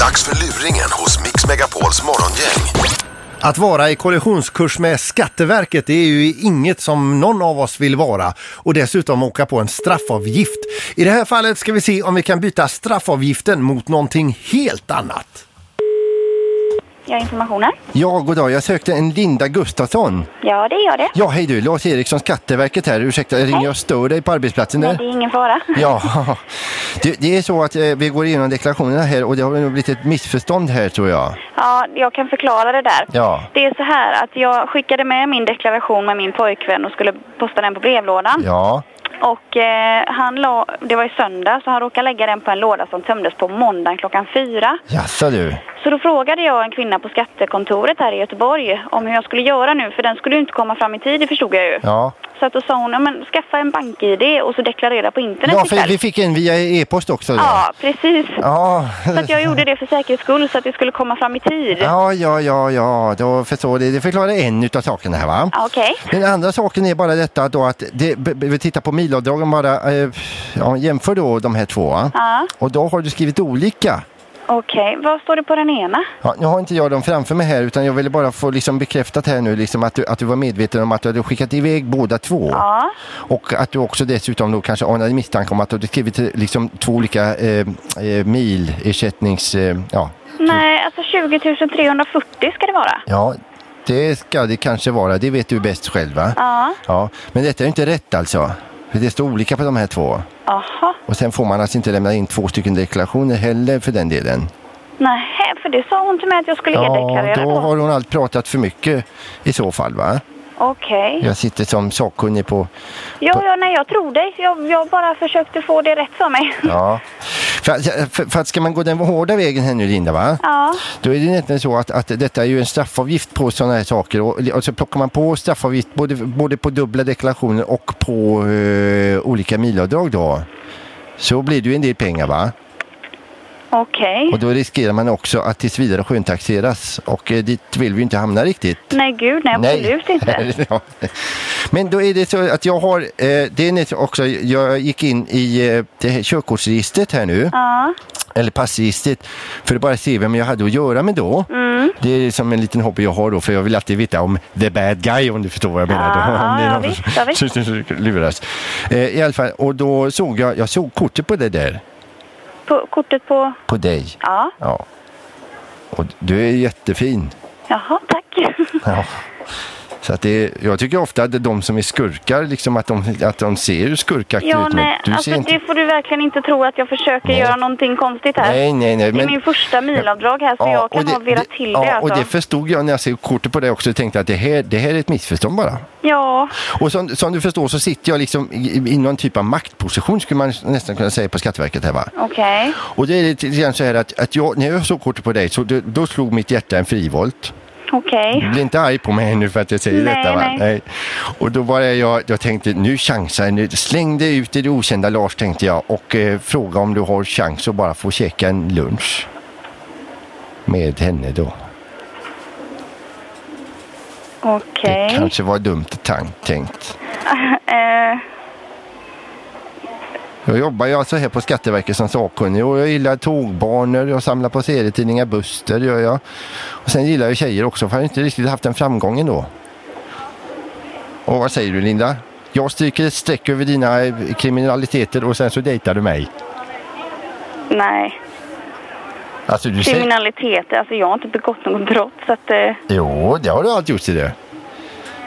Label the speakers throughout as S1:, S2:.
S1: Dags för luringen hos Mix Megapols morgongäng.
S2: Att vara i kollisionskurs med Skatteverket det är ju inget som någon av oss vill vara och dessutom åka på en straffavgift. I det här fallet ska vi se om vi kan byta straffavgiften mot någonting helt annat.
S3: Ja, informationen.
S2: Ja, goddag. Jag sökte en Linda Gustafsson.
S3: Ja, det gör det.
S2: Ja, hej du. Lars Eriksson, Skatteverket här. Ursäkta, ringer jag och stör dig på arbetsplatsen?
S3: Nej,
S2: eller?
S3: det är ingen fara.
S2: Ja, det, det är så att eh, vi går igenom deklarationerna här och det har nog blivit ett missförstånd här tror jag.
S3: Ja, jag kan förklara det där.
S2: Ja.
S3: Det är så här att jag skickade med min deklaration med min pojkvän och skulle posta den på brevlådan.
S2: Ja,
S3: Och eh, han la, det var i söndag, så han råkade lägga den på en låda som tömdes på måndagen klockan fyra.
S2: jaså du.
S3: Så då frågade jag en kvinna på skattekontoret här i Göteborg om hur jag skulle göra nu, för den skulle ju inte komma fram i tid, det förstod jag ju.
S2: Ja.
S3: Så att då sa hon, ja, men skaffa en bank-id och så deklarera på internet
S2: Ja,
S3: ikväll."
S2: för vi fick en via e-post också. då.
S3: Ja, precis.
S2: Ja.
S3: Så att jag gjorde det för säkerhets skull, så att det skulle komma fram i tid.
S2: Ja, ja, ja, ja, då förstår det. Det förklarar en utav sakerna här va?
S3: Ja, Ah, Okej.
S2: Den andra saken är bara detta då att det, b- b- vi tittar på milavdragen bara, eh, ja, jämför då de här två va?
S3: Ja,
S2: Och då har du skrivit olika.
S3: okej. Vad står det på den ena?
S2: Ja, nu har inte jag dem framför mig här utan jag ville bara få liksom bekräftat här nu liksom att, du, att du var medveten om att du hade skickat iväg båda två.
S3: Ja,
S2: Och att du också dessutom då kanske anade misstanke om att du hade skrivit eh, liksom två olika eh, eh, milersättnings... Eh, ja.
S3: nej, alltså 20 340 ska det vara.
S2: ja, det ska det kanske vara. Det vet du bäst själv va?
S3: Ja,
S2: Ja, men detta är inte rätt alltså. För det står olika på de här två.
S3: jaha.
S2: Och sen får man alltså inte lämna in två stycken deklarationer heller för den delen.
S3: Nej, för det sa hon till mig att jag skulle
S2: Ja,
S3: e-deklarera
S2: då
S3: på.
S2: har hon allt pratat för mycket i så fall va?
S3: Okej.
S2: Jag sitter som sakkunnig på...
S3: Ja, ja, nej, jag tror dig. Jag, jag bara försökte få det rätt för mig.
S2: Ja. För, för, för att ska man gå den hårda vägen här nu Linda va?
S3: Ja,
S2: Då är det egentligen så att, att detta är ju en straffavgift på sådana här saker och, och så plockar man på straffavgift både, både på dubbla deklarationer och på eh, olika milavdrag då. Så blir det ju en del pengar va?
S3: okej.
S2: Och då riskerar man också att tills vidare skönstaxeras och eh, dit vill vi ju inte hamna riktigt.
S3: Nej, gud, nej, absolut inte.
S2: Ja. Men då är det så att jag har, eh, det är nästan också, jag gick in i eh, det här körkortsregistret här nu,
S3: Ja,
S2: eller passregistret, för att bara se vem jag hade att göra med då.
S3: Mm.
S2: Det är som en liten hobby jag har då, för jag vill alltid veta om the bad guy, om du förstår vad jag menar.
S3: Ja,
S2: då. Om
S3: ja,
S2: någon
S3: visst, ja, visst.
S2: som försöker luras. Eh, I alla fall, och då såg jag, jag såg kortet på det där,
S3: på, kortet på...
S2: på dig.
S3: Ja,
S2: Ja. Och du är jättefin.
S3: jaha, tack.
S2: Ja. Så att det, jag tycker ofta att de som är skurkar, liksom att, de, att de ser ju skurkaktiga
S3: Ja,
S2: ut. men
S3: nej,
S2: du
S3: alltså
S2: ser inte...
S3: det får du verkligen inte tro att jag försöker
S2: Nej.
S3: göra någonting konstigt här.
S2: Nej, nej, nej.
S3: Det är min första milavdrag här, så
S2: Ja,
S3: jag
S2: och
S3: kan ha virrat till det,
S2: Ja, och
S3: alltså.
S2: det förstod jag när jag såg kortet på det också och tänkte att det här, det här är ett missförstånd bara.
S3: Ja,
S2: Och som, som du förstår så sitter jag liksom i, i någon typ av maktposition skulle man nästan kunna säga på Skatteverket här va.
S3: okej.
S2: Och det är lite grann så här att, att jag, när jag såg kortet på dig så då, då slog mitt hjärta en frivolt.
S3: Okej.
S2: Bli inte arg på mig nu för att jag säger
S3: Nej,
S2: detta. Va?
S3: nej.
S2: Och då var det jag, jag tänkte nu chansar jag, nu släng dig ut i det okända Lars tänkte jag och eh, fråga om du har chans att bara få käka en lunch. Med henne då.
S3: Okej.
S2: Det kanske var dumt tank, tänkt.
S3: Eh,
S2: Jag jobbar ju alltså här på Skatteverket som sakkunnig och jag gillar tågbanor, jag samlar på serietidningar, Buster gör jag. Och sen gillar jag tjejer också för jag har inte riktigt haft den framgången då. Och vad säger du Linda? Jag stryker ett streck över dina eh, kriminaliteter och sen så dejtar du mig.
S3: nej,
S2: Alltså du säger...
S3: kriminalitet. Alltså jag har inte begått något brott så att... Eh,
S2: Jo, det har du alltid gjort i det.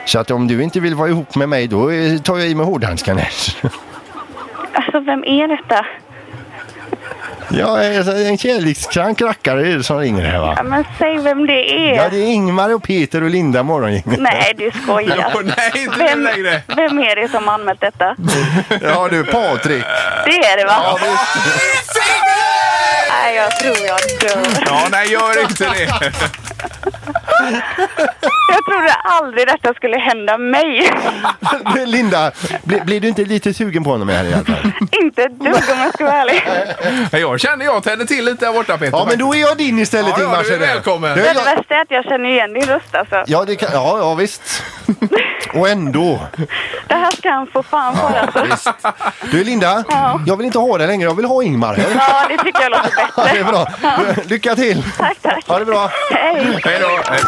S2: Så att om du inte vill vara ihop med mig då eh, tar jag i med hårdhandskarna.
S3: alltså vem är detta?
S2: ja, alltså, en kärlekskrank rackare är det som ringer här va?
S3: Ja, men säg vem det är.
S2: Ja, det är Ingmar och Peter och Linda morgongänget.
S3: Nej, du skojar.
S4: Åh, nej, inte nu
S3: Vem,
S4: längre!
S3: vem är det som har anmält detta?
S2: Ja du, Patrik.
S3: Det är det va? Nej, jag tror jag dör.
S4: Ja, nej, gör inte det.
S3: Jag trodde aldrig detta skulle hända mig.
S2: Linda, blir, blir du inte lite sugen på honom här i alla fall?
S3: Inte inte ett dugg om jag ska vara ärlig.
S4: Jag känner jag tände till lite där borta Peter.
S2: Ja, men då är jag din istället
S4: Ja, ja,
S2: Ingmar.
S4: du är
S2: Sjödén.
S4: välkommen.
S2: Du,
S4: Det
S3: Det,
S2: jag,
S3: det värsta är att jag känner igen din röst alltså.
S2: ja, det kan, ja, ja, visst. Och ändå.
S3: Det här ska han få fan för alltså.
S2: Visst. Du Linda,
S3: Ja.
S2: jag vill inte ha dig längre. Jag vill ha Ingmar. här.
S3: Ja, det tycker jag låter
S2: Ja, det är
S3: bättre.
S2: bra. Du, Lycka till.
S3: Tack, tack.
S2: Ha det bra.
S3: Hej!
S4: Hej då. Hej.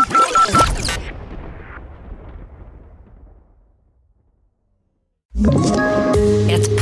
S5: Ett